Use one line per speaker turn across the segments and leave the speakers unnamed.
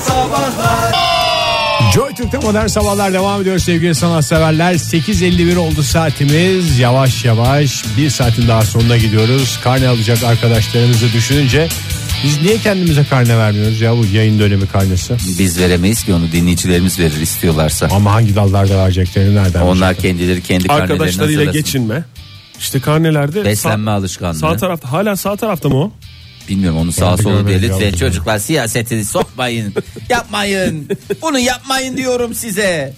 Sabahlar
Joy Türk'te modern sabahlar devam ediyor sevgili sanatseverler. 8.51 oldu saatimiz. Yavaş yavaş bir saatin daha sonuna gidiyoruz. Karne alacak arkadaşlarımızı düşününce biz niye kendimize karne vermiyoruz ya bu yayın dönemi karnesi?
Biz veremeyiz ki onu dinleyicilerimiz verir istiyorlarsa.
Ama hangi dallarda vereceklerini nereden
Onlar kendileri kendi karnelerini
Arkadaşlarıyla
hazırlasın.
geçinme İşte karnelerde
Beslenme
sağ,
alışkanlığı.
sağ tarafta hala sağ tarafta mı o?
Bilmiyorum onu
Ben
sağa
de
sola diye
görmedim
lütfen
yavrum.
çocuklar siyaseti sokmayın. yapmayın. Bunu yapmayın diyorum size.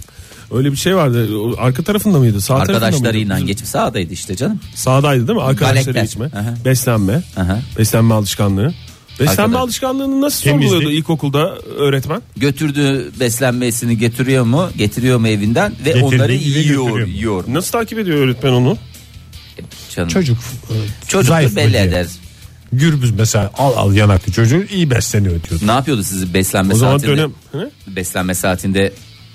Öyle bir şey vardı. O Arka tarafında mıydı? Sağ tarafında mıydı?
Arkadaşlarıyla geçip sağdaydı işte canım.
Sağdaydı değil mi? Arkadaşlarıyla
Galekler.
geçme.
Aha.
Beslenme.
Aha.
Beslenme alışkanlığı. Beslenme
Arkadaş-
alışkanlığını nasıl
Temizlik.
sorguluyordu ilkokulda öğretmen?
Götürdüğü beslenmesini getiriyor mu? Getiriyor mu evinden ve
Getirdiği
onları
gibi
yiyor.
götürüyor.
yiyor. E,
Nasıl takip ediyor öğretmen onu?
Canım. Çocuk,
Çocuk e,
Çocuktur
zayıf mı
belli
diye.
eder.
Gürbüz mesela al al yanaklı çocuğu iyi besleniyor diyordu.
Ne yapıyordu sizi beslenme
O zaman
saatinde?
dönem. Hı?
Beslenme saatinde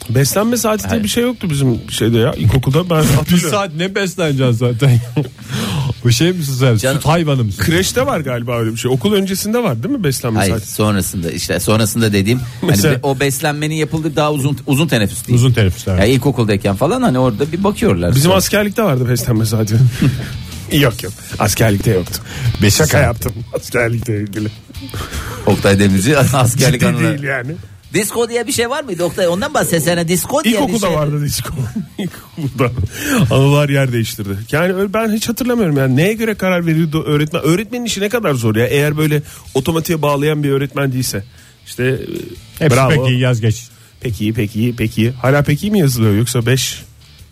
Beslenme saati diye
Hayır.
bir şey yoktu bizim şeyde ya ilkokulda ben hatırlıyorum.
ne besleneceksin zaten? bu şey misin sen?
Canım-
Süt hayvanı mısın?
Kreşte var galiba öyle bir şey. Okul öncesinde var değil mi beslenme
Hayır
saati?
sonrasında işte sonrasında dediğim hani
Mesela-
be- o beslenmenin yapıldığı daha uzun uzun teneffüs değil.
Uzun teneffüsler.
Ya ilkokuldayken falan hani orada bir bakıyorlar.
Bizim
Sonra-
askerlikte vardı beslenme saati. yok yok. Askerlikte yoktu.
Beş
Şaka
saat.
yaptım askerlikle ilgili.
Oktay Demirci askerlik
Ciddi
anıları.
değil yani.
Disko diye bir şey var mıydı Oktay? Ondan bahsetsene. Disko diye bir
İlkokulda
şey.
vardı disko. İlkokulda. Anılar yer değiştirdi. Yani öyle ben hiç hatırlamıyorum yani neye göre karar veriyordu öğretmen. Öğretmenin işi ne kadar zor ya eğer böyle otomatiğe bağlayan bir öğretmen değilse. İşte e,
Hepsi
bravo.
pek iyi yaz geç.
Peki iyi peki iyi peki iyi. Hala peki iyi mi yazılıyor yoksa 5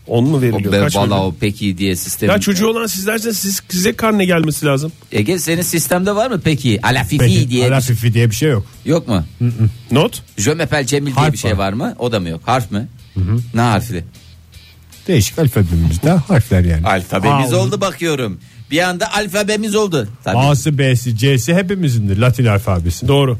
10 mu
O
veriliyor?
be-
Kaç
Valla
veriliyor?
o peki diye sistem.
Ya çocuğu olan sizlerse siz, size karne gelmesi lazım.
Ege senin sistemde var mı peki? Alafifi
Peki,
diye.
ala fifi diye bir şey yok.
Yok mu?
Not.
Jömepel Cemil diye
Harf
bir şey var mı? O da mı yok? Harf mı? Ne harfli?
Değişik alfabemizde harfler yani.
Alfabemiz
A,
oldu bakıyorum. Bir anda alfabemiz oldu. Tabii.
A'sı B'si C'si hepimizindir Latin alfabesi.
Doğru.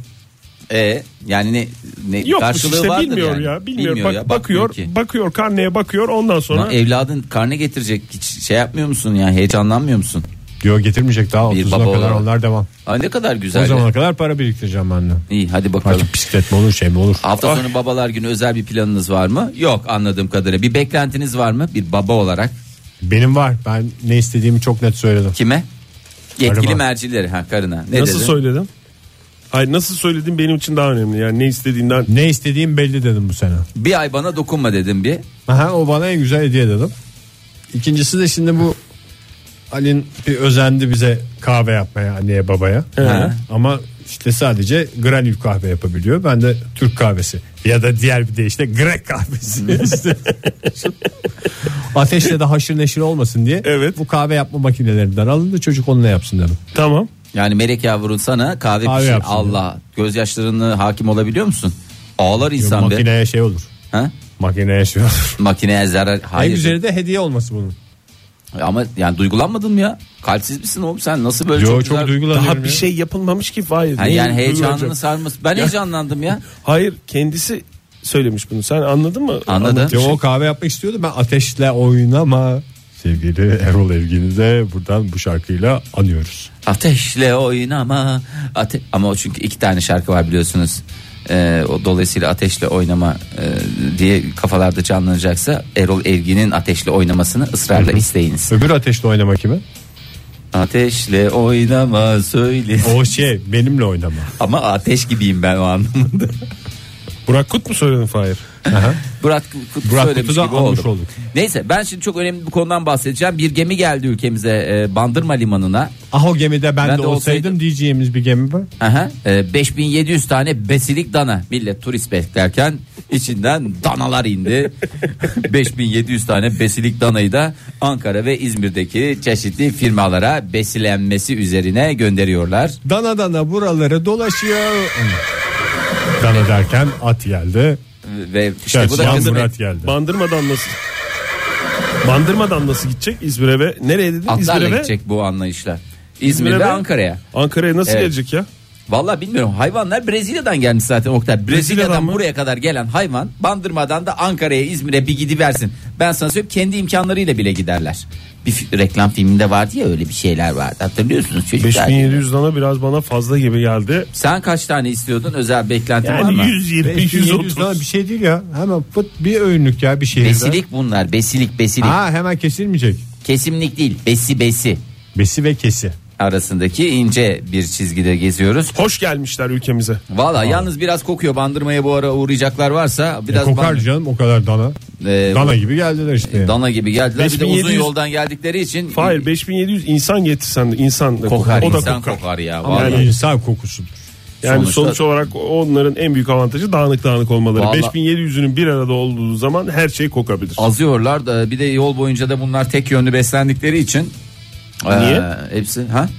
Ee, yani ne, ne
Yok
karşılığı
işte
vardır
bilmiyor
yani.
ya. Bilmiyor.
Bilmiyor
Bak-
ya, bakmıyor
bakıyor,
ki.
bakıyor karneye bakıyor ondan sonra.
Lan evladın karne getirecek hiç şey yapmıyor musun ya heyecanlanmıyor musun?
Diyor getirmeyecek daha
Bir
30'una
baba
kadar
olarak.
onlar devam.
Aa, ne kadar güzel.
O zamana kadar para biriktireceğim ben de.
İyi hadi bakalım.
Artık bisiklet mi olur şey mi olur.
Hafta sonu babalar günü özel bir planınız var mı? Yok anladığım kadarıyla. Bir beklentiniz var mı? Bir baba olarak
Benim var ben ne istediğimi çok net söyledim.
kime? Yetkili
Karıma.
mercileri ha karına. Ne
nasıl
dedin?
söyledim? Hayır nasıl söyledim benim için daha önemli. Yani ne istediğinden
Ne istediğim belli dedim bu sene.
bir ay bana dokunma dedim bir.
Aha, o bana en güzel hediye dedim. İkincisi de şimdi bu Ali'nin bir özendi bize kahve yapmaya anneye babaya.
Ha.
Ama işte sadece granül kahve yapabiliyor. Ben de Türk kahvesi ya da diğer bir de işte Grek kahvesi. İşte. Ateşle de haşır neşir olmasın diye
Evet.
bu kahve yapma makinelerinden alındı çocuk onunla yapsın dedim.
tamam.
Yani melek yavrun sana kahve,
Kahve
pişir.
yapsın
Allah gözyaşlarını hakim olabiliyor musun? Ağlar insan be.
makineye şey olur.
Ha?
Makineye şey olur.
Makineye zarar. Hayır.
En güzeli de hediye olması bunun.
Ama yani duygulanmadın mı ya? Kalpsiz misin oğlum sen? Nasıl böyle
Yo,
çok,
çok
güzel-
duygulanıyorum
Daha
ya.
bir şey yapılmamış ki Fahir.
Ha,
Neyi
yani heyecanını
duyuracak?
sarması. Ben heyecanlandım ya.
Hayır kendisi söylemiş bunu. Sen anladın mı?
Anladım.
Yo, o kahve yapmak istiyordu. Ben ateşle oynama. Sevgili Erol Evgin'i de buradan bu şarkıyla anıyoruz.
Ateşle oynama. Ate Ama o çünkü iki tane şarkı var biliyorsunuz. Ee, o dolayısıyla ateşle oynama e, diye kafalarda canlanacaksa Erol Evgin'in ateşle oynamasını ısrarla isteyiniz.
Öbür ateşle oynama kimi?
Ateşle oynama söyle.
O şey benimle oynama.
Ama ateş gibiyim ben o anlamında.
Burak Kut mu söyledin Fahir?
Aha.
Burak Kutu
Burak
söylemiş
Kutlu'dan
gibi
almış
olduk.
olduk.
Neyse ben şimdi çok önemli bir konudan bahsedeceğim. Bir gemi geldi ülkemize e, Bandırma Limanı'na.
Ah o gemide ben,
Ben
de,
de
olsaydım,
olsaydım.
diyeceğimiz bir gemi var.
Aha, e, 5700 tane besilik dana millet turist beklerken içinden danalar indi. 5700 tane besilik danayı da Ankara ve İzmir'deki çeşitli firmalara besilenmesi üzerine gönderiyorlar.
Dana dana buraları dolaşıyor. dana derken at geldi.
Ve işte bu
Gerçi
da
Yan
kızım-
Murat geldi.
Bandırmadan nasıl? Bandırmadan nasıl gidecek İzmir'e ve nereye dedin?
atlarla
İzmir'e ve
gidecek bu anlayışla. İzmir
İzmir'e
ve
ve-
Ankara'ya.
Ankara'ya nasıl
Evet.
gelecek ya?
Vallahi bilmiyorum hayvanlar Brezilya'dan gelmiş zaten Oktay. Brezilya'dan,
Brezilya'dan mı?
buraya kadar gelen hayvan bandırmadan da Ankara'ya İzmir'e bir gidiversin. Ben sana söyleyeyim kendi imkanlarıyla bile giderler. Bir fi- reklam filminde vardı ya öyle bir şeyler vardı hatırlıyorsunuz çocuklar.
5700 dana biraz bana fazla gibi geldi.
Sen kaç tane istiyordun özel beklentin var mı?
Yani 120
700
130.
tane bir şey değil ya. Hemen fıt bir öğünlük ya bir şehirde.
Besilik bunlar besilik besilik.
Ha hemen kesilmeyecek.
Kesimlik değil besi besi
Besi ve kesi.
arasındaki ince bir çizgide geziyoruz.
Hoş gelmişler ülkemize.
Valla yalnız biraz kokuyor bandırmaya bu ara uğrayacaklar varsa
E,
biraz
kokar
bandır-
canım o kadar dana.
Ee,
dana gibi geldiler işte. yani.
E, Dana gibi geldiler. Bir de uzun
5700
yoldan geldikleri için
Hayır 5700 insan getirsen de insan da
kokar.
kokar. O da
insan kokar,
kokar.
ya.
Ama
Vallahi.
yani insan kokusudur.
Yani
Sonuçta-
sonuç olarak onların en büyük avantajı dağınık dağınık olmaları.
Vallahi-
5700'ünün bir arada olduğu zaman her şey kokabilir.
azıyorlar da bir de yol boyunca da bunlar tek yönlü beslendikleri için
Niye?
Ee, hepsi ha?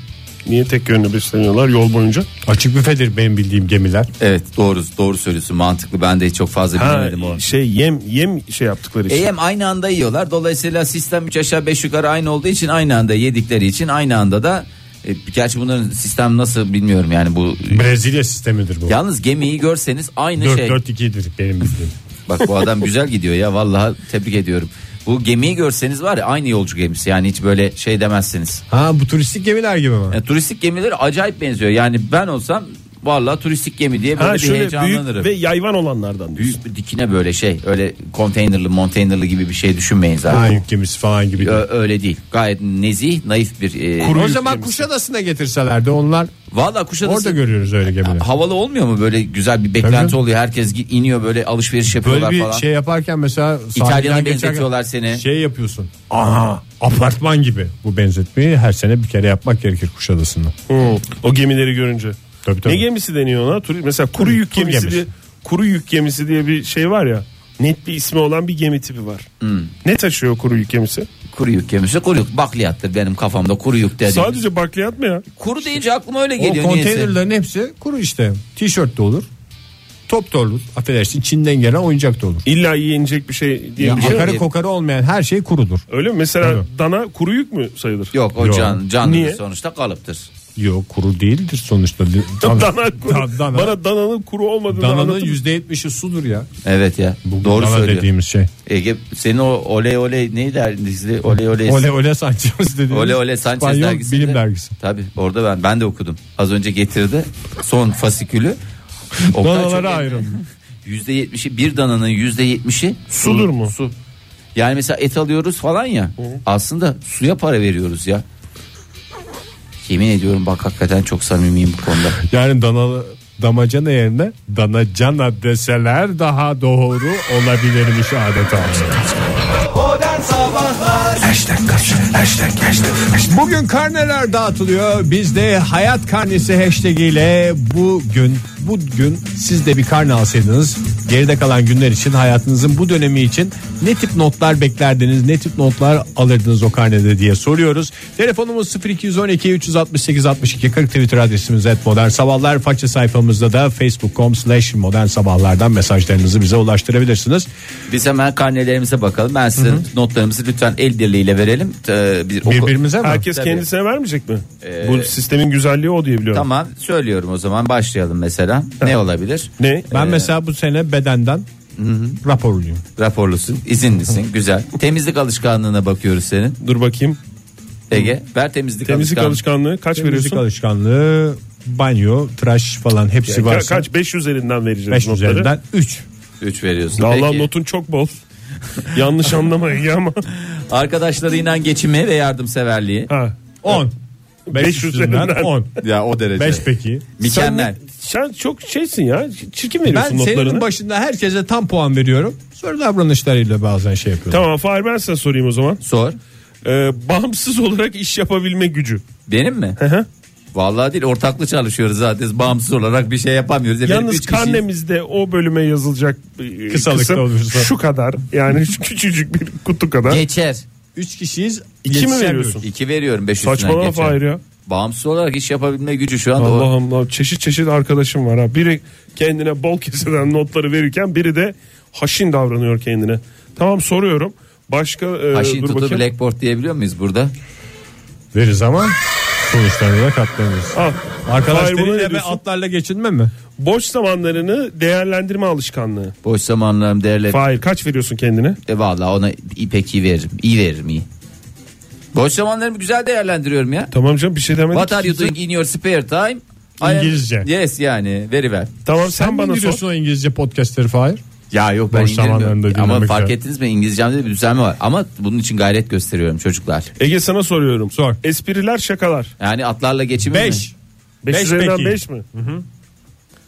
Niye tek yönlü besleniyorlar yol boyunca?
Açık büfedir benim bildiğim gemiler.
Evet doğru doğru söylüyorsun mantıklı ben de hiç çok fazla
Ha,
bilmedim onu.
şey yem yem şey yaptıkları için.
EM E, aynı anda yiyorlar. Dolayısıyla sistem 3 aşağı 5 yukarı aynı olduğu için aynı anda yedikleri için aynı anda da e, gerçi bunların sistem nasıl bilmiyorum yani bu
Brezilya sistemidir bu.
yalnız gemiyi görseniz aynı şey.
4-4-2'dir benim bildiğim.
Bak bu adam güzel gidiyor ya vallahi tebrik ediyorum. Bu gemiyi görseniz var ya aynı yolcu gemisi yani hiç böyle şey demezsiniz.
ha bu turistik gemiler gibi mi?
Yani turistik gemileri acayip benziyor. Yani ben olsam vallahi turistik gemi diye böyle
Ha
bir
şöyle
heyecanlanırım.
büyük ve yayvan olanlardan. diyorsun.
Büyük bir dikine böyle şey öyle konteynerlı monteynerlı gibi bir şey düşünmeyin zaten.
Ha, yük gemisi falan gibi.
Ö- öyle değil. Gayet nezih, naif bir e,
Kuru-
o
yük
zaman
gemisi.
Kuşadası'na getirselerdi onlar.
Valla Kuşadası
Orada görüyoruz öyle gemileri.
havalı olmuyor mu böyle güzel bir beklenti
Tabii.
oluyor. Herkes gi- iniyor böyle alışveriş
Böyle
yapıyorlar
bir
falan.
şey yaparken mesela
İtalyana
sahilden geçerken
benzetiyorlar seni.
Şey yapıyorsun. Aha apartman gibi. Bu benzetmeyi her sene bir kere yapmak gerekir Kuşadası'nda.
Hı, o gemileri görünce.
Tabii, tabii.
Ne gemisi deniyor ona? Tur- Mesela kuru
Tur-
yük
tur
gemisi
gemisi.
diye kuru yük gemisi diye bir şey var ya. Net bir ismi olan bir gemi tipi var.
Hmm.
Ne taşıyor kuru yük gemisi?
Kuru yük gemisi kuru yük bakliyattır benim kafamda kuru yük dedim.
Sadece bakliyat mı ya?
Kuru deyince aklıma öyle
O
geliyor. niyeyse.
konteynerların hepsi kuru işte. Tişört de olur. Top da olur. Affedersin Çin'den gelen oyuncak da olur.
İlla yenecek bir şey diye
Ya,
bir şey.
akar-
Akarı kokarı olmayan her şey kurudur.
Öyle mi? Mesela
Tabii.
dana kuru yük mü sayılır?
Yok o
Yok.
can, canlı
Niye?
sonuçta kalıptır.
Yok kuru değildir sonuçta. Tabii.
Dana kuru.
Da- dana.
Bana dananın kuru olmadığını
Dananın
anlatın.
%70'i sudur ya.
Evet ya
Bu
doğru
dana
söylüyor.
dediğimiz şey.
Ege senin o oley oley neydi dergisi? Oley oley.
Ole Ole Sanchez dediğimiz.
Ole Ole Sanchez
İspanyol
dergisinde.
bilim dergisi.
Tabii orada ben ben de okudum. Az önce getirdi son fasikülü. Oktay çok
Danalara
en-
ayrım.
%70'i bir dananın %70'i
Sudur mu?
Su. Yani mesela et alıyoruz falan ya. Aslında suya para veriyoruz ya. Yemin ediyorum bak hakikaten çok samimiyim bu konuda.
Yani danalı damacana yerine danacana deseler daha doğru olabilirmiş adeta. Bugün karneler dağıtılıyor. Biz de hayat karnesi hashtag ile bugün bugün siz de bir karne alsaydınız geride kalan günler için hayatınızın bu dönemi için ne tip notlar beklerdiniz ne tip notlar alırdınız o karnede diye soruyoruz. Telefonumuz 0212 368 62 40 Twitter adresimiz et modern sabahlar faça sayfamızda da facebook.com slash modern sabahlardan mesajlarınızı bize ulaştırabilirsiniz.
Biz hemen karnelerimize bakalım. Ben size notlarımızı lütfen el birliğiyle verelim. Ee, bir oku-
Birbirimize mi?
Herkes
Tabii. Ee,
kendisine vermeyecek mi? Bu sistemin güzelliği o diye biliyorum.
Tamam söylüyorum o zaman başlayalım mesela. Ne olabilir?
Ne?
Ben mesela bu sene bedenden raporluyum.
Raporlusun, izinlisin, güzel. Temizlik alışkanlığına bakıyoruz senin.
Dur bakayım.
Ege ver temizlik,
Temizlik
alışkanlığı.
alışkanlığı kaç
Temizlik
veriyorsun?
alışkanlığı, banyo, tıraş falan hepsi
Ka-
varsa
kaç? 5 üzerinden vereceğiz
5
notları.
üzerinden 3.
3 veriyorsun.
Allah
Peki.
notun çok bol. Yanlış anlamayın ya ama.
Arkadaşlarıyla geçimi ve yardımseverliği.
Ha.
10.
Beş
5 üzerinden
üzerinden.
10.
Ya o derece.
5 peki.
Mükemmel.
Sen, sen çok şeysin ya. Çirkin
Ben
veriyorsun
senin
notlarını.
başında herkese tam puan veriyorum. Sonra davranışlarıyla bazen şey yapıyorum.
Tamam Fahir ben sana sorayım o zaman.
Sor.
Ee, bağımsız olarak iş yapabilme gücü.
Benim mi?
hı.
Vallahi değil ortaklı çalışıyoruz zaten bağımsız olarak bir şey yapamıyoruz. Efendim,
Yalnız
üç kişiyiz.
karnemizde o bölüme yazılacak e,
Kısalıkta
kısım
olursa.
şu kadar. Yani şu küçücük bir kutu kadar.
Geçer.
3 kişiyiz.
İki mi
yetişemiyoruz.
veriyorsun?
2 veriyorum 5
Saçmalama Fahir ya.
Bağımsız olarak iş yapabilme gücü şu anda
Allah
o.
Allah çeşit çeşit arkadaşım var ha. Biri kendine bol keseden notları verirken biri de haşin davranıyor kendine. Tamam soruyorum. Başka e,
Haşin
dur
tutu
bakayım.
blackboard diyebiliyor muyuz burada?
Veririz ama Sonuçlarına da katlanırız.
Al. Fahir, buna ne
Arkadaşlarıyla ve
diyorsun?
atlarla geçinme mi?
Boş zamanlarını değerlendirme alışkanlığı.
Boş zamanlarım değerli.
Fahir kaç veriyorsun kendine?
E valla ona ipek iyi veririm. İyi veririm iyi. Boş zamanlarımı güzel değerlendiriyorum ya.
Tamam canım bir şey demedik.
What are you doing in your spare time? I am-
İngilizce.
Yes yani veriver.
Tamam sen,
Sen
bana
bana
sor.
o İngilizce podcastleri Fahir?
Ya yok ben
Boş
indirmiyorum.
zamanlarında dinlemek
Ama fark
güzel.
ettiniz mi İngilizcemde de bir düzelme var. Ama bunun için gayret gösteriyorum çocuklar.
Ege sana soruyorum.
Sor.
Espriler şakalar.
Yani atlarla geçimi mi?
5.
5
Beş
üzerinden
peki.
5 mi?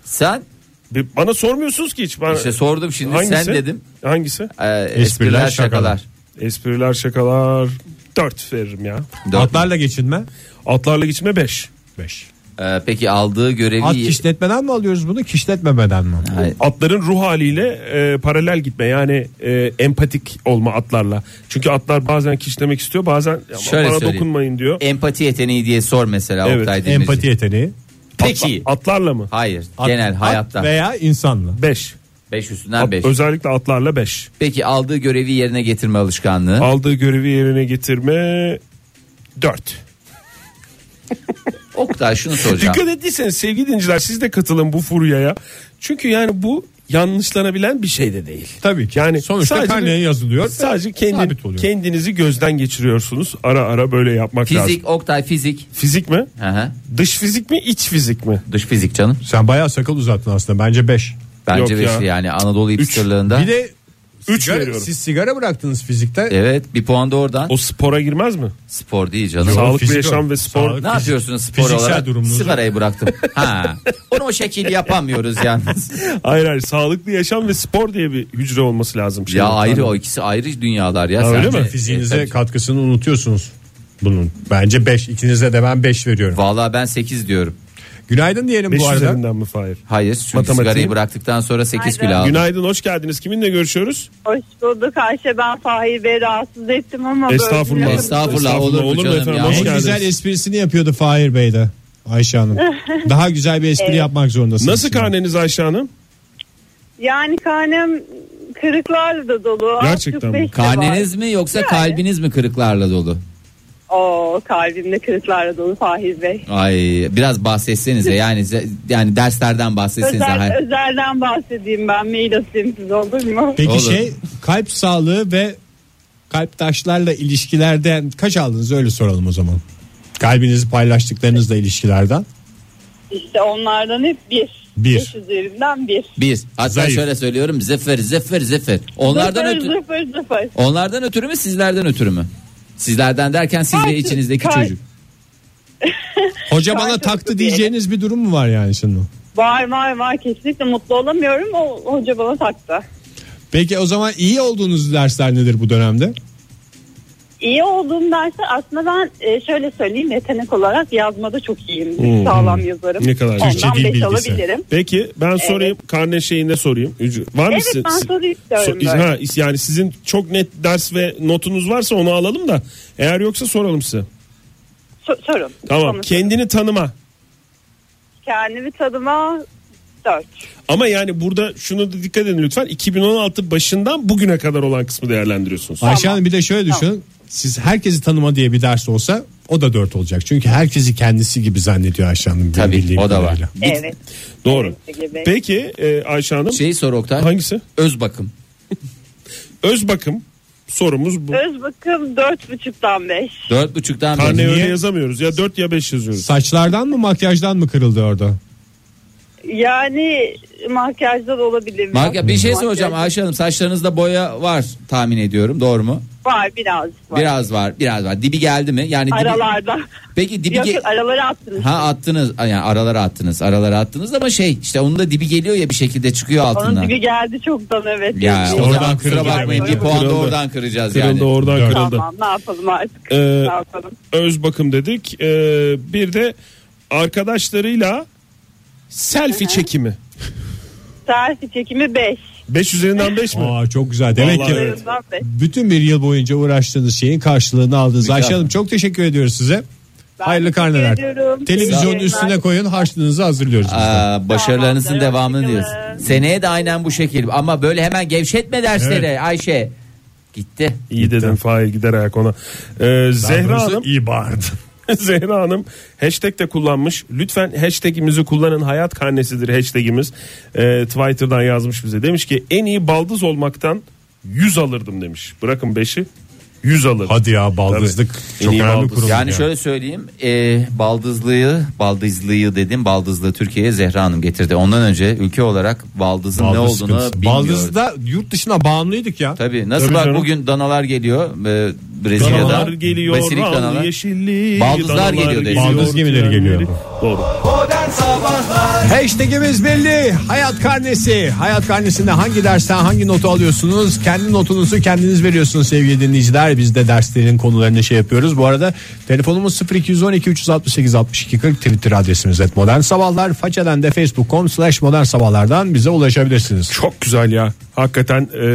Sen
Bir- Bana sormuyorsunuz ki hiç. Bana...
işte sordum şey şimdi
Hangisi?
sen dedim.
Hangisi?
Ee, espriler,
Espriler,
şakalar.
Espriler şakalar 4 veririm ya.
Dört.
Atlarla geçinme.
Atlarla gitme 5.
5.
Ee, peki aldığı görevi
At kişnetmeden mi alıyoruz bunu kişnetmemeden mi?
Hayır.
Atların ruh haliyle e, paralel gitme yani e, empatik olma atlarla. Çünkü atlar bazen kişnemek istiyor bazen "Ya
Şöyle
bana
söyleyeyim. E,
dokunmayın diyor.
empati yeteneği diye sor mesela
Evet,
Oktay Demirci.
Empati yeteneği.
Peki.
Atla- atlarla mı?
Hayır
At-
genel
at
hayatta. 5
veya insanla.
5.
üstünden 5.
Özellikle atlarla 5.
Peki aldığı görevi yerine getirme alışkanlığı.
Aldığı görevi yerine getirme 4.
Oktay şunu soracağım.
Dikkat ettiyseniz sevgili dinciler siz de katılın bu furyaya. Çünkü yani bu yanlışlanabilen bir şey de değil.
Tabii ki.
Yani
Yani sonuçta
sadece-
karneye yazılıyor.
Sadece
Sabit
kendin,
oluyor.
kendinizi gözden geçiriyorsunuz. Ara ara böyle yapmak lazım.
Fizik Oktay fizik.
Fizik mi?
Hı hı.
Dış fizik mi, iç fizik mi?
Dış fizik canım.
Sen bayağı sakal uzattın aslında. Bence 5.
Bence
Yok
beşli
ya.
yani Anadolu İpsirliği'nda.
Bir de
Üç
sigara-
veriyorum.
siz sigara bıraktınız fizikte.
Evet bir puan da oradan.
O spora girmez mi?
Spor değil canım.
Sağlıklı
fizik
yaşam
o.
ve spor.
Sağlık.
Ne yapıyorsunuz spor
fiziksel
olarak?
durumunuzu.
Sigarayı bıraktım. ha. Onu o şekil yapamıyoruz yalnız.
Hayır hayır sağlıklı yaşam ve spor diye bir hücre olması lazım. Şey
ya
yok.
ayrı o ikisi ayrı dünyalar ya.
öyle
sence.
mi?
Fiziğinize
E, tabii.
katkısını unutuyorsunuz. Bunun bence 5 ikinize de ben 5 veriyorum.
Vallahi ben 8 diyorum.
Günaydın diyelim
Beş
bu arada.
üzerinden mi Fahir?
Hayır çünkü
Matematiği-
sigarayı bıraktıktan sonra 8
Hayır.
kilo aldım.
Günaydın hoş geldiniz. Kiminle görüşüyoruz?
Hoş bulduk Ayşe ben Fahir Bey'i rahatsız ettim ama
Estağfurullah.
böyle-
Estağfurullah, olur mu canım ya?
Hoş
en
geldiniz.
güzel esprisini yapıyordu Fahir Bey de Ayşe Hanım. Daha güzel bir espri yapmak zorundasınız.
Nasıl
Şimdi.
karneniz Ayşe Hanım?
Yani karnem kırıklarla da dolu.
Gerçekten
Azıcık
mi?
beş de var.
Karneniz mi yoksa kalbiniz mi kırıklarla dolu?
Oo kalbimde kırıklarla dolu Fahir Bey.
Ay biraz bahsetsenize yani yani derslerden bahsetsenize.
Özel,
Hayır.
özelden bahsedeyim ben mail atayım siz olur mu?
Peki
Olur.
şey kalp sağlığı ve kalp taşlarla ilişkilerden kaç aldınız öyle soralım o zaman. Kalbinizi paylaştıklarınızla ilişkilerden.
İşte onlardan hep bir.
Bir.
Beş üzerinden bir.
Bir. Hatta
Zayıf.
şöyle söylüyorum zıfır zıfır zıfır. Onlardan
zıfır,
ötürü
zıfır zıfır.
onlardan ötürü mü sizlerden ötürü mü? Sizlerden derken siz ve
Karşı-
içinizdeki
karşı-
çocuk.
Hoca bana
Karşılıklı
taktı
diyelim.
diyeceğiniz bir durum mu var yani şimdi?
Var var var kesinlikle mutlu olamıyorum. O hoca bana taktı.
Peki o zaman iyi olduğunuz dersler nedir bu dönemde?
İyi olduğum dersler aslında ben e, şöyle söyleyeyim yetenek olarak yazmada çok iyiyim. Sağlam yazarım.
Hmm. Ne kadar
Ondan
Türkçe
dil
beş
bilgisi.
alabilirim.
Peki ben sorayım karne şeyinde sorayım. Ücü- Var mı
Evet,
sizin-
ben soru istiyorum
So-
böyle.
ha, is- yani sizin çok net ders ve notunuz varsa onu alalım da eğer yoksa soralım size.
So- sorun.
Tamam.
Konuşun.
Kendini tanıma.
Kendimi tadıma dört.
Ama yani burada şunu da dikkat edin lütfen. 2016 başından bugüne kadar olan kısmı değerlendiriyorsunuz.
Ayşe Hanım bir de şöyle düşünün. Siz herkesi tanıma diye bir ders olsa o da dört olacak. Çünkü herkesi kendisi gibi zannediyor Ayşe Hanım. benim
Tabii
bildiğim
o da var.
kadarıyla.
Evet.
Doğru.
Gibi.
Peki e, Ayşe Hanım
Şey-
Şeyi sor Oktay.
hangisi?
Öz bakım.
Öz bakım sorumuz bu.
Öz bakım dört buçuktan beş.
Dört buçuktan beri.
Karneye öyle
Niye?
yazamıyoruz. Ya 4 ya 5 yazıyoruz.
Saçlardan mı makyajdan mı kırıldı orada?
Yani makyajda da olabilir.
Marka, bir şey
Makyaj
soracağım Ayşe Hanım saçlarınızda boya var tahmin ediyorum doğru mu?
Var birazcık var.
Biraz var biraz var dibi geldi mi? Yani dibi-
Aralarda.
Peki dibi
Yok
ge-
yok, araları attınız.
Ha attınız yani aralara attınız aralara attınız ama şey işte onun da dibi geliyor ya bir şekilde çıkıyor
Onun Şey
altından.
gibi geldi çoktan evet.
Ya
Yani-
o
oradan
zaman
kırıldı
kusura bakmayın
demek
bir
ki.
puan da
Kırıldı.
oradan kıracağız
Kırıldı
yani.
oradan
Dört.
kırıldı.
Tamam ne yapalım artık.
Ee,
ne yapalım.
Öz bakım dedik. Ee, bir de arkadaşlarıyla selfie çekimi.
Selfie çekimi 5.
5 üzerinden 5 mi?
Aa çok güzel. Demek
Vallahi
ki
evet.
bütün bir yıl boyunca uğraştığınız şeyin karşılığını aldınız.
Mükemmel.
Ayşe Hanım çok teşekkür ediyoruz size.
Ben
Hayırlı
teşekkür
karneler.
ediyorum.
Televizyonun
Sağ olun.
üstüne koyun harçlığınızı hazırlıyoruz. biz de.
Aa, başarılarınızın
Tamamdır,
devamını
hoşçakalın.
diyoruz. Seneye de aynen bu şekil ama böyle hemen gevşetme dersleri
Evet.
Ayşe. Gitti.
İyi dedin Fahir gider ayak ona. Ee,
Daha
Zehra
doğrusu
Hanım
iyi bağırdı.
Zehra Hanım hashtag de kullanmış. Lütfen hashtagimizi kullanın. Hayat karnesidir hashtagimiz. Ee, Twitter'dan yazmış bize. Demiş ki en iyi baldız olmaktan 100 alırdım demiş. Bırakın 5'i 100 alırdım.
Hadi ya baldızlık
En
çok
iyi
önemli
baldız.
kurulum.
Yani
ya.
şöyle söyleyeyim e, baldızlığı baldızlığı dedim baldızlığı Türkiye'ye Zehra Hanım getirdi. Ondan önce ülke olarak baldızın ne
Baldız
olduğunu
sıkıntısı.
bilmiyoruz.
Baldız da yurt dışına bağımlıydık ya.
Tabii nasıl
Tabii
bak
canım.
bugün danalar geliyor e, Brezilya'da.
Danalar geliyor.
Besilik
al
danalar.
yeşilli,
Baldızlar geliyor dedi.
Baldız gemileri
trenleri.
geliyor.
Doğru.
Hashtagimiz belli. Hayat karnesi. Hayat karnesinde hangi dersten hangi notu alıyorsunuz? Kendi notunuzu kendiniz veriyorsunuz sevgili dinleyiciler. Biz de derslerin konularını şey yapıyoruz. Bu arada telefonumuz 0212 368 62 40 Twitter adresimiz et modern sabahlar. Façeden de facebook.com slash modern sabahlardan bize ulaşabilirsiniz.
Çok güzel ya. Hakikaten e,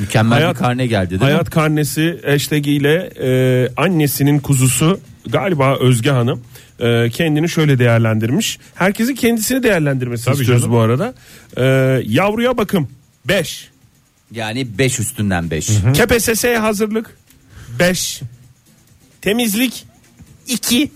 Mükemmel
hayat-
bir karne geldi değil
Hayat karnesi hashtag ile e, annesinin kuzusu galiba Özge Hanım e, kendini şöyle değerlendirmiş. Herkesin kendisini değerlendirmesi istiyoruz bu arada. E, yavruya bakım 5.
mi? Yani 5 üstünden 5.
KPSS'ye hazırlık 5. Temizlik 2.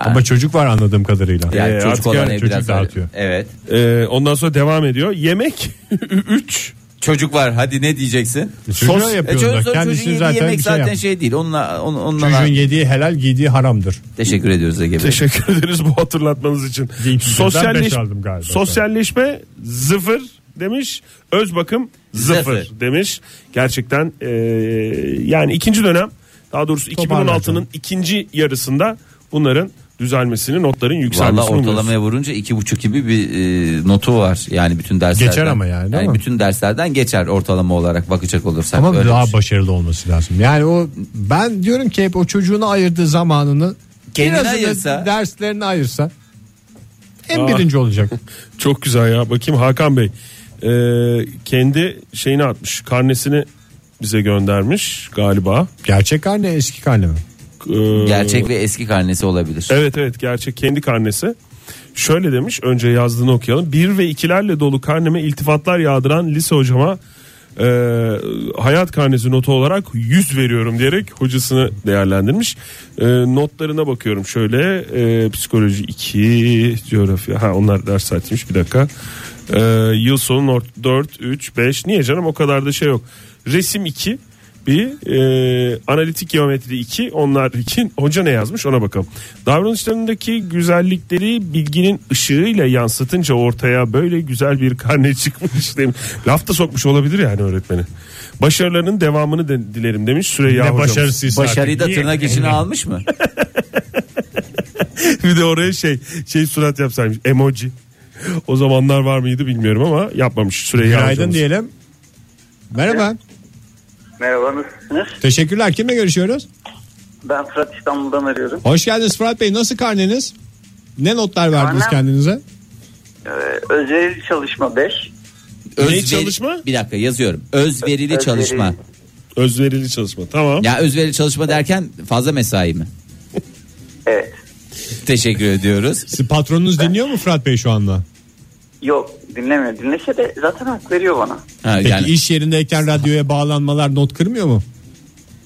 Ama çocuk var anladığım kadarıyla.
Yani
Ee,
çocuk
artık
olan
yani
ev
çocuk
biraz
dağıtıyor.
Evet.
E, ondan sonra devam ediyor. Yemek 3.
Çocuk var hadi ne diyeceksin?
Çocuğa
Sos-
E,
yapıyorlar.
çocuk, çocuğun
Kendisi
yediği
zaten
yemek
bir şey
zaten
yap-
şey değil. Onunla, on, onunla
Çocuğun yediği helal giydiği haramdır.
Teşekkür ediyoruz Ege Bey.
Teşekkür ederiz bu hatırlatmanız için.
Linksizden
Sosyalleş-
beş aldım galiba.
Sosyalleşme sıfır demiş. Öz bakım sıfır
Sıfır.
demiş. Gerçekten eee, yani ikinci dönem daha doğrusu 2016'nın ikinci yarısında bunların düzelmesini, notların
Valla
yükselmesini umuyoruz.
ortalamaya vurunca iki buçuk gibi bir e, notu var yani bütün derslerden.
Geçer ama yani, değil mi?
bütün derslerden geçer ortalama olarak bakacak olursak.
Ama
Öyle bir
daha
şey.
başarılı olması lazım. Yani o ben diyorum ki hep o çocuğuna ayırdığı zamanını
Kendine
birazını
ayırsa.
derslerine ayırsa en
Aa.
birinci olacak.
Çok güzel ya. Bakayım Hakan Bey eee, kendi şeyini atmış. Karnesini bize göndermiş galiba. E,
Gerçek karne eski karne mi?
Eee,
Gerçek ve eski karnesi olabilir.
Evet evet gerçek kendi karnesi. Şöyle demiş önce yazdığını okuyalım. Bir ve ikilerle dolu karneme iltifatlar yağdıran lise hocama e, hayat karnesi notu olarak 100 veriyorum diyerek hocasını değerlendirmiş. E, notlarına bakıyorum şöyle e, psikoloji 2 coğrafya ha onlar ders saatiymiş bir dakika. E, yıl sonu 4 3 5 niye canım o kadar da şey yok. Resim 2 bir e, analitik geometri 2 onlar için hoca ne yazmış ona bakalım. Davranışlarındaki güzellikleri bilginin ışığıyla yansıtınca ortaya böyle güzel bir karne çıkmış demiş. Laf da sokmuş olabilir yani öğretmeni. Başarılarının devamını de- dilerim demiş Süreyya hocam.
Başarıyı da tırnak içine almış mı?
bir de oraya şey şey surat yapsaymış emoji. O zamanlar var mıydı bilmiyorum ama yapmamış Süreyya
Günaydın
hocamız.
diyelim. Merhaba.
Merhaba nasılsınız?
Teşekkürler. Kimle görüşüyoruz?
Ben Fırat İstanbul'dan arıyorum.
Hoş geldiniz Fırat Bey. Nasıl karneniz? Ne notlar verdiniz
Karnem-
kendinize?
Ee, özel çalışma 5.
Neyi
Özveri-
çalışma?
Bir dakika yazıyorum. Özverili
Özverili.
çalışma.
Özverili çalışma tamam.
Ya özverili çalışma derken fazla mesai mi?
Evet.
Teşekkür ediyoruz.
Siz patronunuz dinliyor mu Fırat Bey şu anda?
Yok dinlemiyor. Dinlese de zaten hak veriyor bana.
Ha,
Peki
yani
iş yerindeyken radyoya bağlanmalar not kırmıyor mu?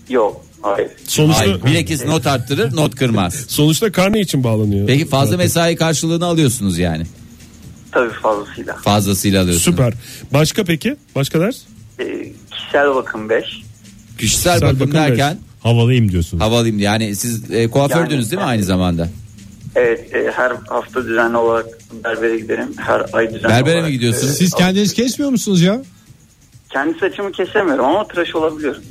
Yok. Hayır.
Sonuçta
Hayır, bilakis not arttırır, not kırmaz.
sonuçta karne için bağlanıyor.
Peki fazla mesai karşılığını alıyorsunuz yani.
Tabii fazlasıyla.
Fazlasıyla alıyorsunuz.
Süper. Başka peki? Başka ders?
Ee, kişisel bakım 5.
Kişisel,
Kişisel
bakım,
bakım
derken
Havalıyım diyorsunuz.
havalıyım yani siz e, kuafördünüz
Yani-
değil mi aynı zamanda?
Evet. e, her hafta düzenli olarak berbere giderim. Her ay düzenli
Berbere
olarak,
mi gidiyorsunuz?
e,
Siz kendiniz kesmiyor musunuz ya?
Kendi saçımı kesemiyorum ama tıraş olabiliyorum.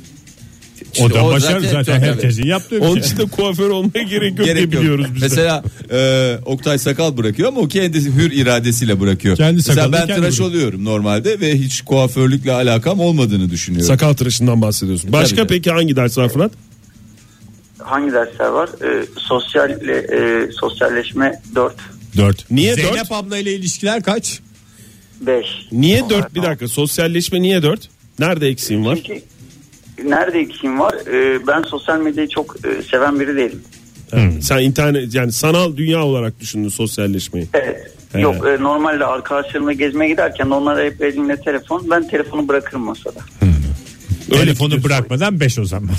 O da
o
başarı
zaten-
zaten,
tabii.
herkesin yaptığı bir
Onun
şey.
için de kuaför olmaya gerek yok
Gerek
diye
yok.
biliyoruz biz de.
Mesela e, Oktay sakal bırakıyor ama o kendi hür iradesiyle bırakıyor.
Kendi
Mesela
sakalını
ben
kendi
tıraş
bırakıyor.
oluyorum normalde ve hiç kuaförlükle alakam olmadığını düşünüyorum.
Sakal tıraşından bahsediyorsun. Başka
Tabii.
peki hangi ders var Fırat?
Hangi dersler var? Ee, sosyal e, sosyalleşme 4.
4. Niye
Zeynep
Zeynep abla ile ilişkiler kaç?
5.
Niye 4? Bir dakika. Sosyalleşme niye 4? Nerede eksiğim var?
Çünkü nerede eksiğim var? Ee, ben sosyal medyayı çok e, seven biri değilim.
Ha, Sen internet yani sanal dünya olarak düşündün sosyalleşmeyi.
Evet. Yok e, normalde arkadaşlarımla gezmeye giderken onlara hep elimde telefon. Ben telefonu bırakırım masada.
Öyle
Telefonu bırakmadan 5 o zaman.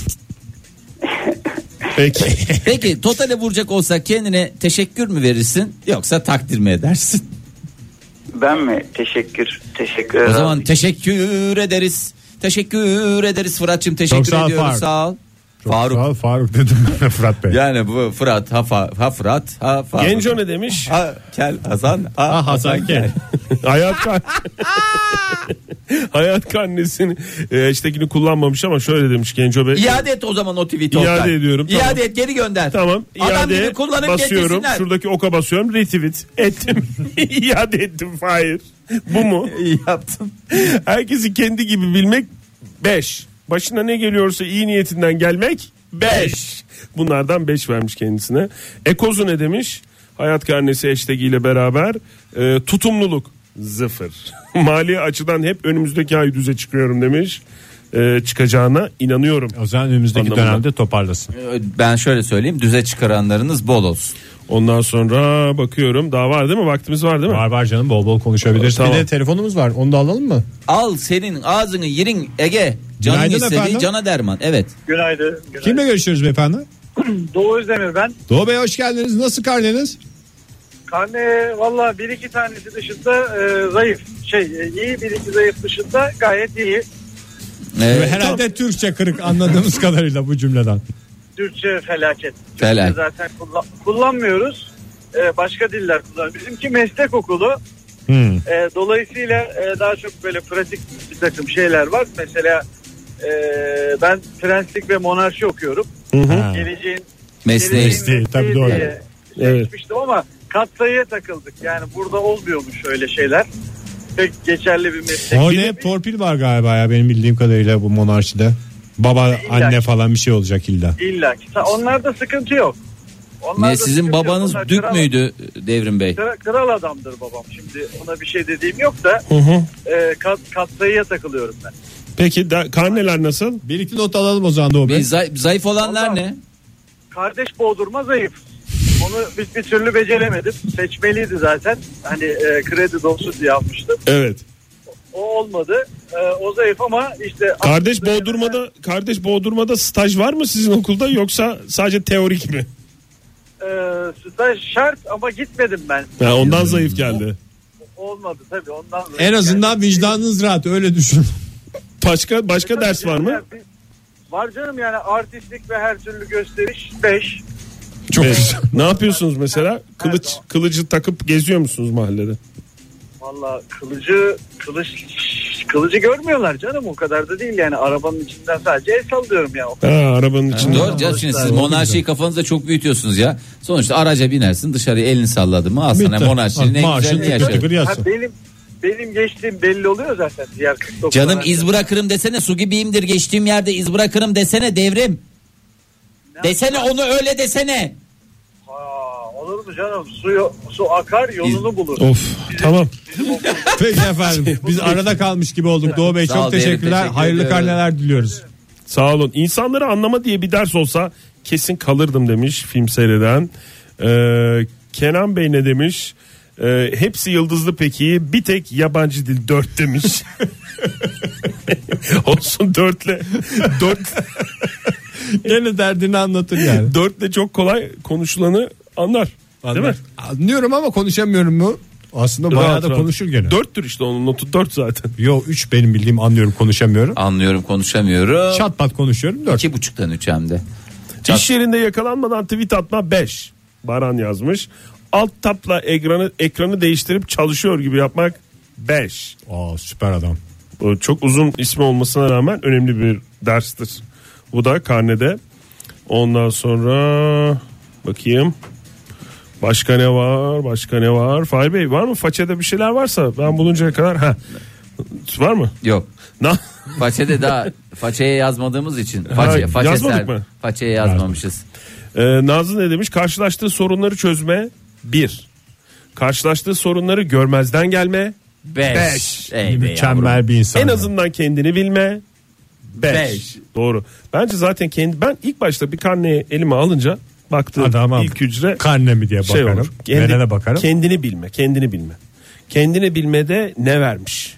Peki.
Peki totale vuracak olsak kendine teşekkür mü verirsin yoksa takdir mi edersin?
Ben mi? Teşekkür. Teşekkür
O
ederim.
zaman teşekkür ederiz. Teşekkür ederiz Fırat'cığım. Teşekkür
Çok sağ ol
ediyoruz.
Faruk.
Sağ ol.
Çok
Faruk.
sağ ol, Faruk dedim ben de Fırat Bey.
Yani bu Fırat ha, Fa- ha Fırat ha Faruk.
Genco ne demiş?
Ha Kel Hasan ha,
Ah
Hasan
Hasan
Kel.
Kel.
Hayat kan- Hayat karnesini e, iştekini kullanmamış ama şöyle demiş Genco Bey.
İade et o zaman o tweet'i. Oktay.
İade ediyorum,
İade
tamam.
et geri gönder.
Tamam.
Adam
iade
gibi kullanıp
basıyorum.
getirsinler.
Şuradaki oka basıyorum. Retweet ettim. iade ettim. Hayır. Bu mu?
İyi yaptın.
Herkesi kendi gibi bilmek 5. Başına ne geliyorsa iyi niyetinden gelmek 5. Bunlardan 5 vermiş kendisine. Ekozu ne demiş? Hayat karnesi hashtag ile beraber e, tutumluluk zıfır. Mali açıdan hep önümüzdeki ay düze çıkıyorum demiş. E, çıkacağına inanıyorum.
O zaman önümüzdeki
Anlamında.
dönemde toparlasın.
Ee, Ben şöyle söyleyeyim düze çıkaranlarınız bol olsun.
Ondan sonra bakıyorum daha var değil mi? Vaktimiz var değil mi?
Var var canım bol bol konuşabiliriz.
Tamam.
Bir de telefonumuz var onu da alalım mı?
Al senin ağzını yirin Ege. Canın
Günaydın
istediği
efendim.
cana derman. Evet.
Günaydın. günaydın.
Kimle görüşüyoruz beyefendi?
Doğu Özdemir ben.
Doğu Bey hoş geldiniz. Nasıl karneniz?
Karne valla bir iki tanesi dışında e, zayıf. Şey e, iyi bir iki zayıf dışında gayet iyi.
Ee,
Herhalde Türkçe kırık anladığımız kadarıyla bu cümleden.
Türkçe felaket. Türkçe
Felaket.
zaten kullan- kullanmıyoruz. E, başka diller kullanıyoruz. Bizimki meslek okulu.
Hmm,
E, dolayısıyla e, daha çok böyle pratik bir takım şeyler var. Mesela e, ben prenslik ve monarşi okuyorum.
Ha.
Geleceğin
Mesleği.
Geleceğin mesleği
Tabii doğru.
diye
Evet.
seçmiştim ama katsayıya takıldık. Yani burada olmuyormuş öyle şeyler. Pek geçerli bir meslek.
Orada
değil.
hep torpil var galiba ya benim bildiğim kadarıyla bu monarşide. Baba anne falan bir şey olacak illa.
İlla ki. Ta- Onlarda sıkıntı yok. Onlarda
Ne sizin
sıkıntı yok.
babanız
Onlar
dük
kral-
müydü e, Devrim Bey?
Kral, kral adamdır babam. Şimdi ona bir şey dediğim yok da e, kat, katsayıya takılıyorum ben.
Peki da, karneler nasıl?
Birlikte not alalım o zaman Doğu Bey.
Bir zay- zayıf olanlar ne?
Kardeş boğdurma zayıf. Onu bir, bir türlü beceremedim. Seçmeliydi zaten. Hani e, kredi dolusu diye almıştım.
Evet.
O olmadı. E, o zayıf ama işte...
Kardeş boğdurmada kardeş boğdurmada staj var mı sizin okulda yoksa sadece teorik mi?
E, staj şart ama gitmedim ben.
Ha, ondan zayıf geldi.
Olmadı tabii ondan. dolayı.
En azından vicdanınız rahat öyle düşün.
Başka başka
Yani-
ders var mı?
Yani bir- şey Var canım yani artistlik ve her türlü gösteriş 5.
Çok Ne yapıyorsunuz mesela? Kılıç kılıcı takıp geziyor musunuz mahallede?
Valla kılıcı kılıç kılıcı görmüyorlar canım o kadar da değil yani arabanın içinden sadece el sallıyorum ya.
Ha, arabanın içinde.
Doğru canım şimdi siz
Doğru.
monarşiyi kafanızda çok büyütüyorsunuz ya. Sonuçta araca binersin dışarı elini salladı mı al sana
Bitti.
monarşinin en
Maaşın
güzelini
tıkır
yaşa.
tıkır
Ha,
yazsın.
benim benim geçtiğim belli oluyor zaten diğer 49
Canım
araçta.
iz bırakırım desene su gibiyimdir geçtiğim yerde iz bırakırım desene devrim. Desene onu öyle desene.
Aa, olur mu canım su, su akar yolunu bulur.
Of tamam.
Bizim okul-
Peki efendim biz arada kalmış gibi olduk Doğu
Şey,
Bey
Sağ
çok
ol Devrim,
teşekkürler.
teşekkür
Hayırlı
ediyorum.
karneler diliyoruz.
Sağ olun. İnsanları anlama diye bir ders olsa kesin kalırdım demiş film seyreden. Ee, Kenan Bey ne demiş? Ee, hepsi yıldızlı peki bir tek yabancı dil dört demiş. Olsun dörtle. Dört,
Yine derdini anlatır yani.
dörtle çok kolay konuşulanı anlar. Değil mi?
Anlıyorum ama konuşamıyorum mu? Aslında bayağı
Rahat
da
rahat.
konuşur gene.
Dörttür işte onun notu dört zaten.
Yo 3 benim bildiğim anlıyorum konuşamıyorum.
Anlıyorum konuşamıyorum.
Çat pat konuşuyorum 4.
İki buçuktan üç hem de.
İş yerinde yakalanmadan tweet atma 5. Baran yazmış. Alt tapla ekranı ekranı değiştirip çalışıyor gibi yapmak 5.
Aa süper adam.
Bu Çok uzun ismi olmasına rağmen önemli bir derstir. Bu da karnede. Ondan sonra bakayım. Başka ne var? Başka ne var? Fahir Bey var mı? Façede bir şeyler varsa ben buluncaya kadar. Ha. Var mı?
Yok.
Na-
Façede daha façeye yazmadığımız için. Façe,
Ha,
façe
yazmadık
ser-
mı?
Façeye yazmamışız.
Ee, Nazlı ne demiş? Karşılaştığı sorunları çözme 1. Karşılaştığı sorunları görmezden gelme.
Beş.
Beş.
Ey be
Mükemmel
yavrum.
bir insan.
En azından kendini bilme. 5.
Beş.
Doğru. Bence zaten kendi ben ilk başta bir karneyi elime alınca baktığım
Adama
ilk hücre
karne mi diye
şey
bakarım.
olur. Kendi-
Verene bakarım.
Kendini bilme, kendini bilme. Kendini bilmede ne vermiş?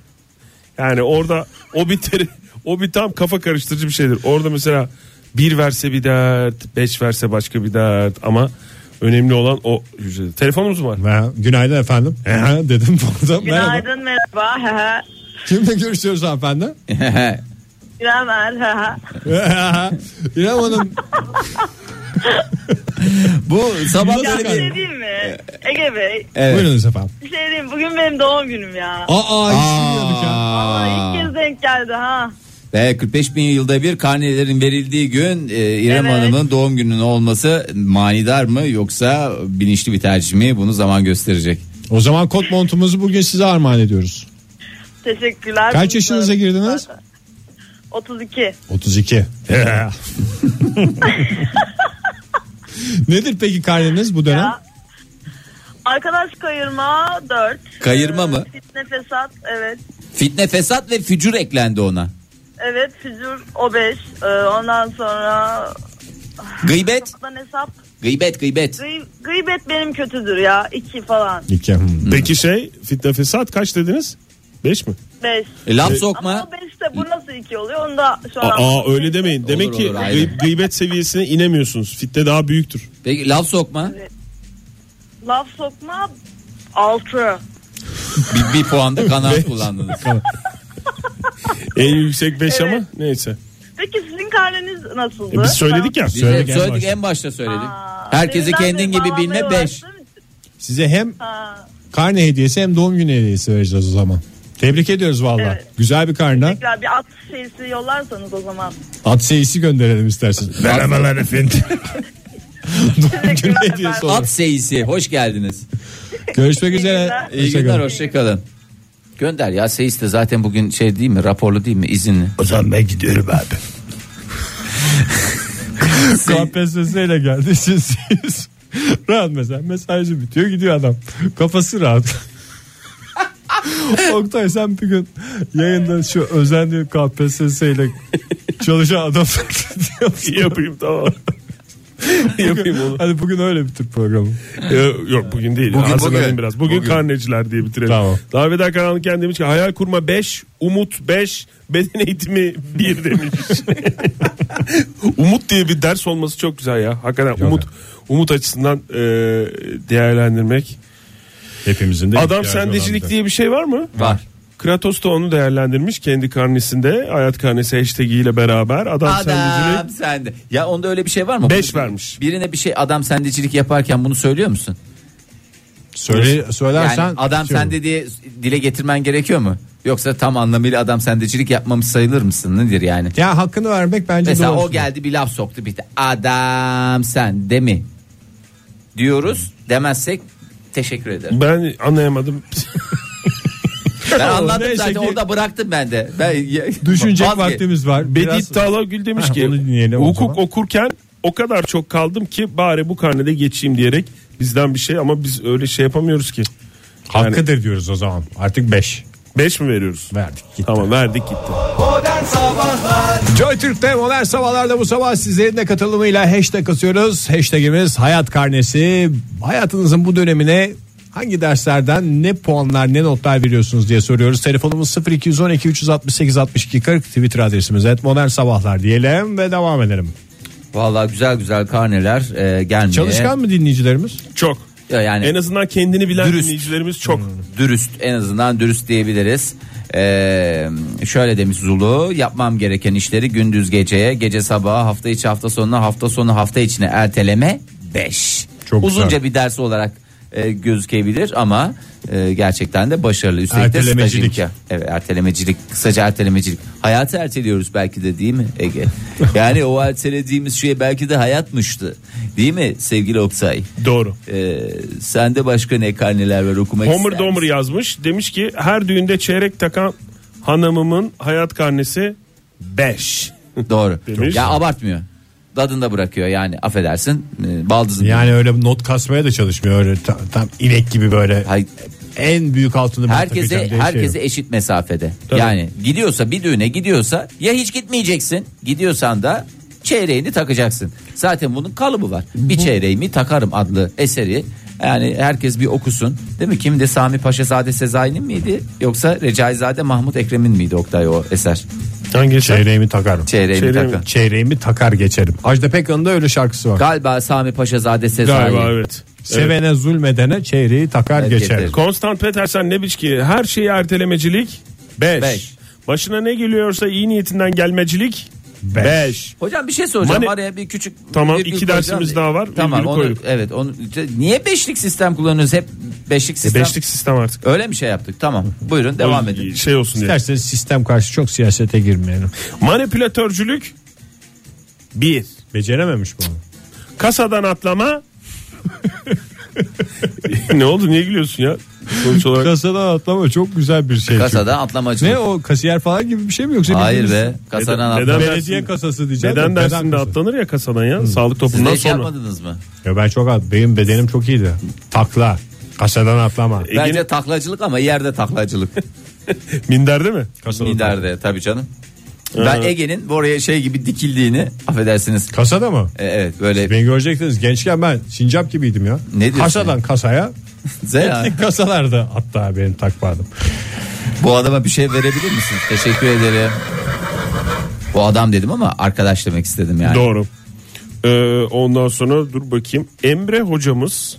Yani orada o bir teri, o bir tam kafa karıştırıcı bir şeydir. Orada mesela Bir verse bir dert, beş verse başka bir dert ama önemli olan o hücre. Telefonumuz mu var?
Ha, günaydın efendim. Ha, dedim bu arada. Merhaba.
Günaydın merhaba. hı hı.
Kimle görüşüyoruz hanımefendi?
İrem Er, hı hı.
İrem Hanım
Bu sabah
Ya bir
böyle
şey
bir...
diyeyim
Ee,
mi? Ege Bey.
Evet.
buyurunuz efendim.
Bir şey diyeyim. Bugün benim doğum günüm ya.
Aa, hiç bilmiyorduk ya.
Vallahi
Aa.
ilk kez denk geldi ha.
Ve 45 bin yılda bir karnelerin verildiği gün e, İrem
Evet.
Hanım'ın doğum gününün olması manidar mı yoksa bilinçli bir tercih mi bunu zaman gösterecek.
O zaman kot montumuzu bugün size armağan ediyoruz.
Teşekkürler.
Kaç yaşınıza girdiniz?
32.
32. Nedir peki karneniz bu dönem?
Ya. Arkadaş kayırma Ee, 4.
Kayırma mı?
Fitne fesat evet.
Fitne fesat ve fücur eklendi ona.
Evet fücur o 5. ondan sonra
Gıybet,
lan hesap.
gıybet, gıybet.
Gıy- gıybet benim kötüdür ya. 2 falan.
İki. Hmm.
Peki şey fitne fesat kaç dediniz? Beş mi?
5.
E, laf
Ama
sokma.
o 5'te bu nasıl 2 oluyor onu da şu an.
Aa öyle demeyin. Demek
Olur,
ki
olur, aynen.
gıy- gıybet seviyesine inemiyorsunuz. Fitne daha büyüktür.
Peki laf sokma.
Laf sokma 6.
Bir, bir puanda kanaat kullandınız.
En yüksek beş
Evet.
ama neyse.
Peki sizin karneniz nasıldı?
E, biz söyledik ya.
Biz de
Söyledik en
söyledik
başta.
en başta söyledik.
Aa,
Herkesi
birinden
kendin
de
gibi bilme
bağlamaya
5.
uğraştım.
Size hem
Ha,
karne hediyesi hem doğum günü hediyesi vereceğiz o zaman. Tebrik ediyoruz valla.
Evet.
Güzel bir karne.
tekrar bir at şeysi yollarsanız o zaman.
At seyisi gönderelim istersen.
Merhabalar efendim.
doğum günü
Teşekkürler
hediyesi
efendim.
olur.
At seyisi hoş geldiniz.
Görüşmek
İyi
üzere.
günler.
İyi
Hoşça
günler
kalın.
hoşçakalın. Gönder ya seyis de zaten bugün şey değil mi raporlu değil mi izinli.
O zaman ben gidiyorum abi.
KPSS ile geldi. Siz, siz. rahat mesela mesajı bitiyor gidiyor adam. Kafası rahat. Oktay sen bir gün yayında şu özenli KPSS ile çalışan adam
Yapayım tamam. Yapayım onu.
Hadi bugün öyle bitir programı.
Ee, Yok bugün değil.
Bugün,
Hazırlanayım
bugün.
biraz. Bugün,
Bugün.
karneciler diye bitirelim.
Tamam.
Davet Eder Karanlık Kendi demiş ki hayal kurma 5, umut 5, beden eğitimi 1 demiş. umut diye bir ders olması çok güzel ya. Hakikaten umut umut açısından e, değerlendirmek.
Hepimizin de
Adam sendecilik diye bir şey var mı?
Var.
Kratos da onu değerlendirmiş kendi karnesinde. Hayat karnesi hashtag ile beraber. Adam,
Adam
sendecilik
sende. Ya onda öyle bir şey var mı?
Beş
Bu-
vermiş.
Birine bir şey adam sendecilik yaparken bunu söylüyor musun?
Söyle,
Yani
söylersen
adam
şey olur.
sende diye dile getirmen gerekiyor mu? Yoksa tam anlamıyla adam sendecilik yapmamış sayılır mısın? Nedir yani?
Ya hakkını vermek bence
Mesela
doğru.
o geldi bir laf soktu bitti. Adam sende mi? Diyoruz demezsek teşekkür ederim.
ben anlayamadım.
Ben anladım
Neyse
zaten
ki-
orada bıraktım ben de. Ben
Düşünecek
vazge-
vaktimiz var. Biraz-
Bedit Talagül demiş
Ha,
ki
onu dinleyelim o
hukuk
zaman."
okurken o kadar çok kaldım ki bari bu karnede geçeyim diyerek bizden bir şey ama biz öyle şey yapamıyoruz ki.
Hakkıdır diyoruz o zaman. Artık 5
5 mi veriyoruz?
verdik. Gitti.
Tamam verdik gitti.
Joy Türk'te modern sabahlarda bu sabah sizlerin de katılımıyla hashtag atıyoruz. Hashtagimiz hayat karnesi. Hayatınızın bu dönemine hangi derslerden ne puanlar ne notlar veriyorsunuz diye soruyoruz. Telefonumuz 0212 368 62 40 Twitter adresimiz et modern sabahlar diyelim ve devam edelim.
Vallahi güzel güzel karneler e, gelmeye.
Çalışkan mı dinleyicilerimiz?
Çok.
Ya yani-
en azından kendini bilen
Dürüst.
dinleyicilerimiz çok.
Hmm.
dürüst en azından dürüst diyebiliriz. Ee, şöyle demiş Zulu yapmam gereken işleri gündüz geceye gece sabaha hafta içi hafta sonuna hafta sonu hafta içine erteleme 5.
Çok
Uzunca
güzel.
bir ders olarak e, gözükebilir ama e, gerçekten de başarılı. Üstelik
Ertelemecilik.
De staj imkan- evet ertelemecilik kısaca ertelemecilik. Hayatı erteliyoruz belki de değil mi Ege? yani o ertelediğimiz şey belki de hayatmıştı değil mi sevgili Oktay?
Doğru.
Ee, sende başka ne karneler var okumak
Homer
ister
Domer
misin?
yazmış. Demiş ki her düğünde çeyrek takan hanımımın hayat karnesi 5.
Doğru.
Demiş.
Ya abartmıyor. Dadında bırakıyor yani affedersin. e, Baldızın.
Yani öyle not kasmaya da çalışmıyor. Öyle tam, tam inek gibi böyle.
Hay-
En büyük altını ben takacağım
herkese
diye şey
herkese
yok.
eşit mesafede.
Tabii.
Yani gidiyorsa bir düğüne gidiyorsa ya hiç gitmeyeceksin. Gidiyorsan da çeyreğini takacaksın. Zaten bunun kalıbı var. Bir çeyreğimi takarım adlı eseri. Yani herkes bir okusun. Değil mi? Kimdi Sami Paşazade Sezai'nin miydi? Yoksa Recaizade Mahmut Ekrem'in miydi Oktay o eser?
Hangi şey?
Çeyreğimi takarım.
Çeyreğimi
Çeyreğimi-
takın.
Çeyreğimi takar geçerim. Ajda Pekkan'ın da öyle şarkısı var.
Galiba Sami Paşazade Sezai.
Galiba evet. Evet.
Sevene zulmedene çeyreği takar
Evet,
geçerim.
geçerim.
Konstant Petersen demiş ki her şeyi ertelemecilik 5.
Beş.
Başına ne geliyorsa iyi niyetinden gelmecilik 5.
Hocam bir şey soracağım.
Mani-
Araya bir küçük
Tamam,
virgül
iki
koyacağım.
dersimiz daha var.
Tamam
Virgülü
onu
koyduk.
evet onu niye beşlik sistem kullanıyoruz hep beşlik sistem?
E, Beşlik sistem artık.
Öyle mi şey yaptık? Tamam. Buyurun devam edin.
Şey olsun diye.
İsterseniz sistem karşı çok siyasete girmeyelim.
Manipülatörcülük 1.
Becerememiş bunu.
Kasadan atlama ne oldu niye gülüyorsun ya? Sonuç olarak
Kasadan atlama çok güzel bir şey.
Kasadan atlamacılık.
Ne o kasiyer falan gibi bir şey mi yoksa?
Hayır be.
bildiğiniz-
Kasadan
Neden-
atlama.
neden-
Belediye kasası diyeceğim. de,
beden dersinde
kasası.
atlanır ya kasadan ya. Sağlık
Siz de şey
topundan
hiç
sonra.
yapmadınız mı?
Ya ben çok at. Benim bedenim çok iyiydi. Takla. Kasadan atlama.
Ege'nin-
Bence taklacılık ama yerde taklacılık.
Minderde mi? Kasadan.
Miderde tabii canım. Ben Ege'nin bu oraya şey gibi dikildiğini affedersiniz.
Kasada mı?
E, Evet böyle
Beni görecektiniz. Gençken ben sincap gibiydim ya.
Ne diyorsun
Kasadan kasaya.
Zera.
Kasalarda hatta benim takmadım.
Bu adama bir şey verebilir misin? Teşekkür ederim. Bu adam dedim ama arkadaş demek istedim yani.
Doğru. Ee, ondan sonra dur bakayım. Emre hocamız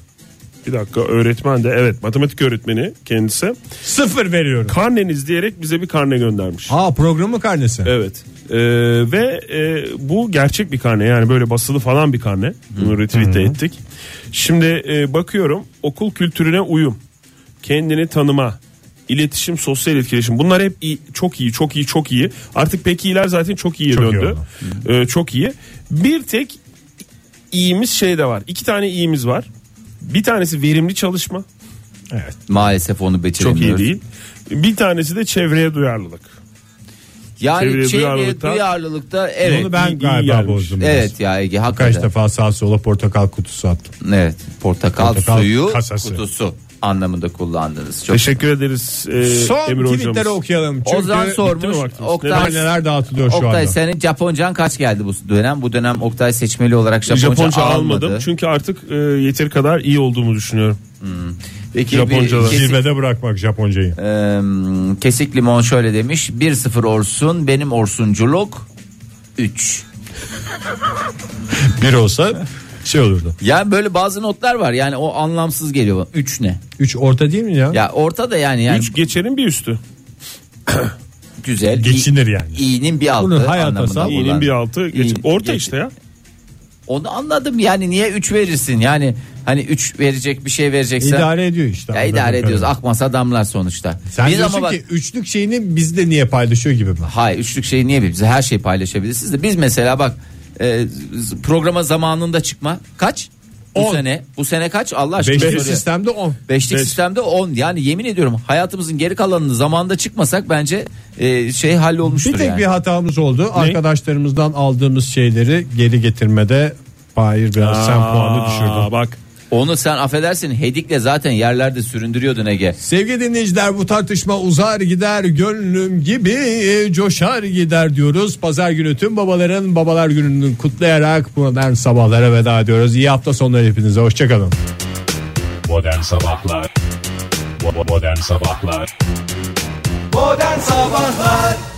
bir dakika öğretmen de evet matematik öğretmeni kendisi.
Sıfır veriyorum.
Karneniz diyerek bize bir karne göndermiş.
Ha programı karnesi.
Evet. Ee, ve e, bu gerçek bir karne yani böyle basılı falan bir karne. Bunu retweet de ettik. Şimdi e, bakıyorum okul kültürüne uyum, kendini tanıma, iletişim, sosyal etkileşim. Bunlar hep iyi, çok iyi, çok iyi, çok iyi. Artık pek iyiler zaten çok iyiye
Çok iyi
döndü. Ee, çok iyi. Bir tek iyimiz şey de var. İki tane iyimiz var. Bir tanesi verimli çalışma.
Evet.
Maalesef onu
Çok iyi
beceremiyoruz.
değil. Bir tanesi de çevreye duyarlılık.
Yani
Çevreye
çevreye
duyarlılıkta-
duyarlılıkta, evet.
Onu ben
iyi- iyi
galiba
gelmiş.
bozdum. biraz.
Evet ya Ege hakikaten.
Kaç defa sağa sola portakal kutusu attım.
Evet. Portakal,
Portakal
suyu
kasası.
kutusu anlamında kullandınız. Çok.
Teşekkür ederiz e,
Son
Emre
tweetleri
hocamız.
okuyalım. Çünkü
Ee, Ozan
bitti
sormuş.
mi vaktimiz?
Oktay,
neler neler dağıtılıyor şu
Oktay
anda.
senin Japoncan kaç geldi bu dönem? Bu dönem Oktay seçmeli olarak Japonca,
Japonca
almadı.
almadım çünkü artık e, yeteri kadar iyi olduğumu düşünüyorum.
Peki
Japoncalar.
bir kesik,
Zirvede bırakmak Japoncayı.
eee, kesik limon şöyle demiş. 1-0 Orsun benim Orsunculuk 3.
Bir olsa şey olurdu.
Yani böyle bazı notlar var. Yani o anlamsız geliyor. bana. Üç ne?
Üç orta değil mi ya?
Ya orta da yani yani
Üç geçerin bir üstü.
güzel.
Geçinir yani.
İyinin bir altı
Bunu hayata
anlamında.
sal.
kullan.
İyinin bir altı. Geç,
İyi-
orta
geç-
işte ya.
Onu anladım yani niye 3 verirsin? Yani hani 3 verecek bir şey vereceksen.
İdare ediyor işte.
Ya idare ediyoruz. Akmasa damlar sonuçta.
Sen
Biz
diyorsun
ama bak-
ki üçlük şeyini bizde niye paylaşıyor gibi mi?
Hayır üçlük şeyi niye biz her şeyi paylaşabilirsiniz de biz mesela bak e, z- programa zamanında çıkma kaç? Bu
On.
sene bu sene kaç Allah aşkına
Beşli
soruyor.
sistemde on.
Beşlik
Beş.
sistemde 10 yani yemin ediyorum hayatımızın geri kalanını zamanında çıkmasak bence e, şey hallolmuştur
Bir tek
yani.
bir hatamız oldu. Arkadaşlarımızdan aldığımız şeyleri geri getirmede Hayır biraz sen
Aa,
puanı düşürdün.
Bak
Onu sen affedersin hedikle zaten yerlerde süründürüyordun Ege.
Sevgili dinleyiciler bu tartışma uzar gider gönlüm gibi e, coşar gider diyoruz. Pazar günü tüm babaların babalar gününü kutlayarak modern sabahlara veda ediyoruz. İyi hafta sonları hepinize hoşçakalın.
Modern Sabahlar Bo- bo- Modern Sabahlar
Modern Sabahlar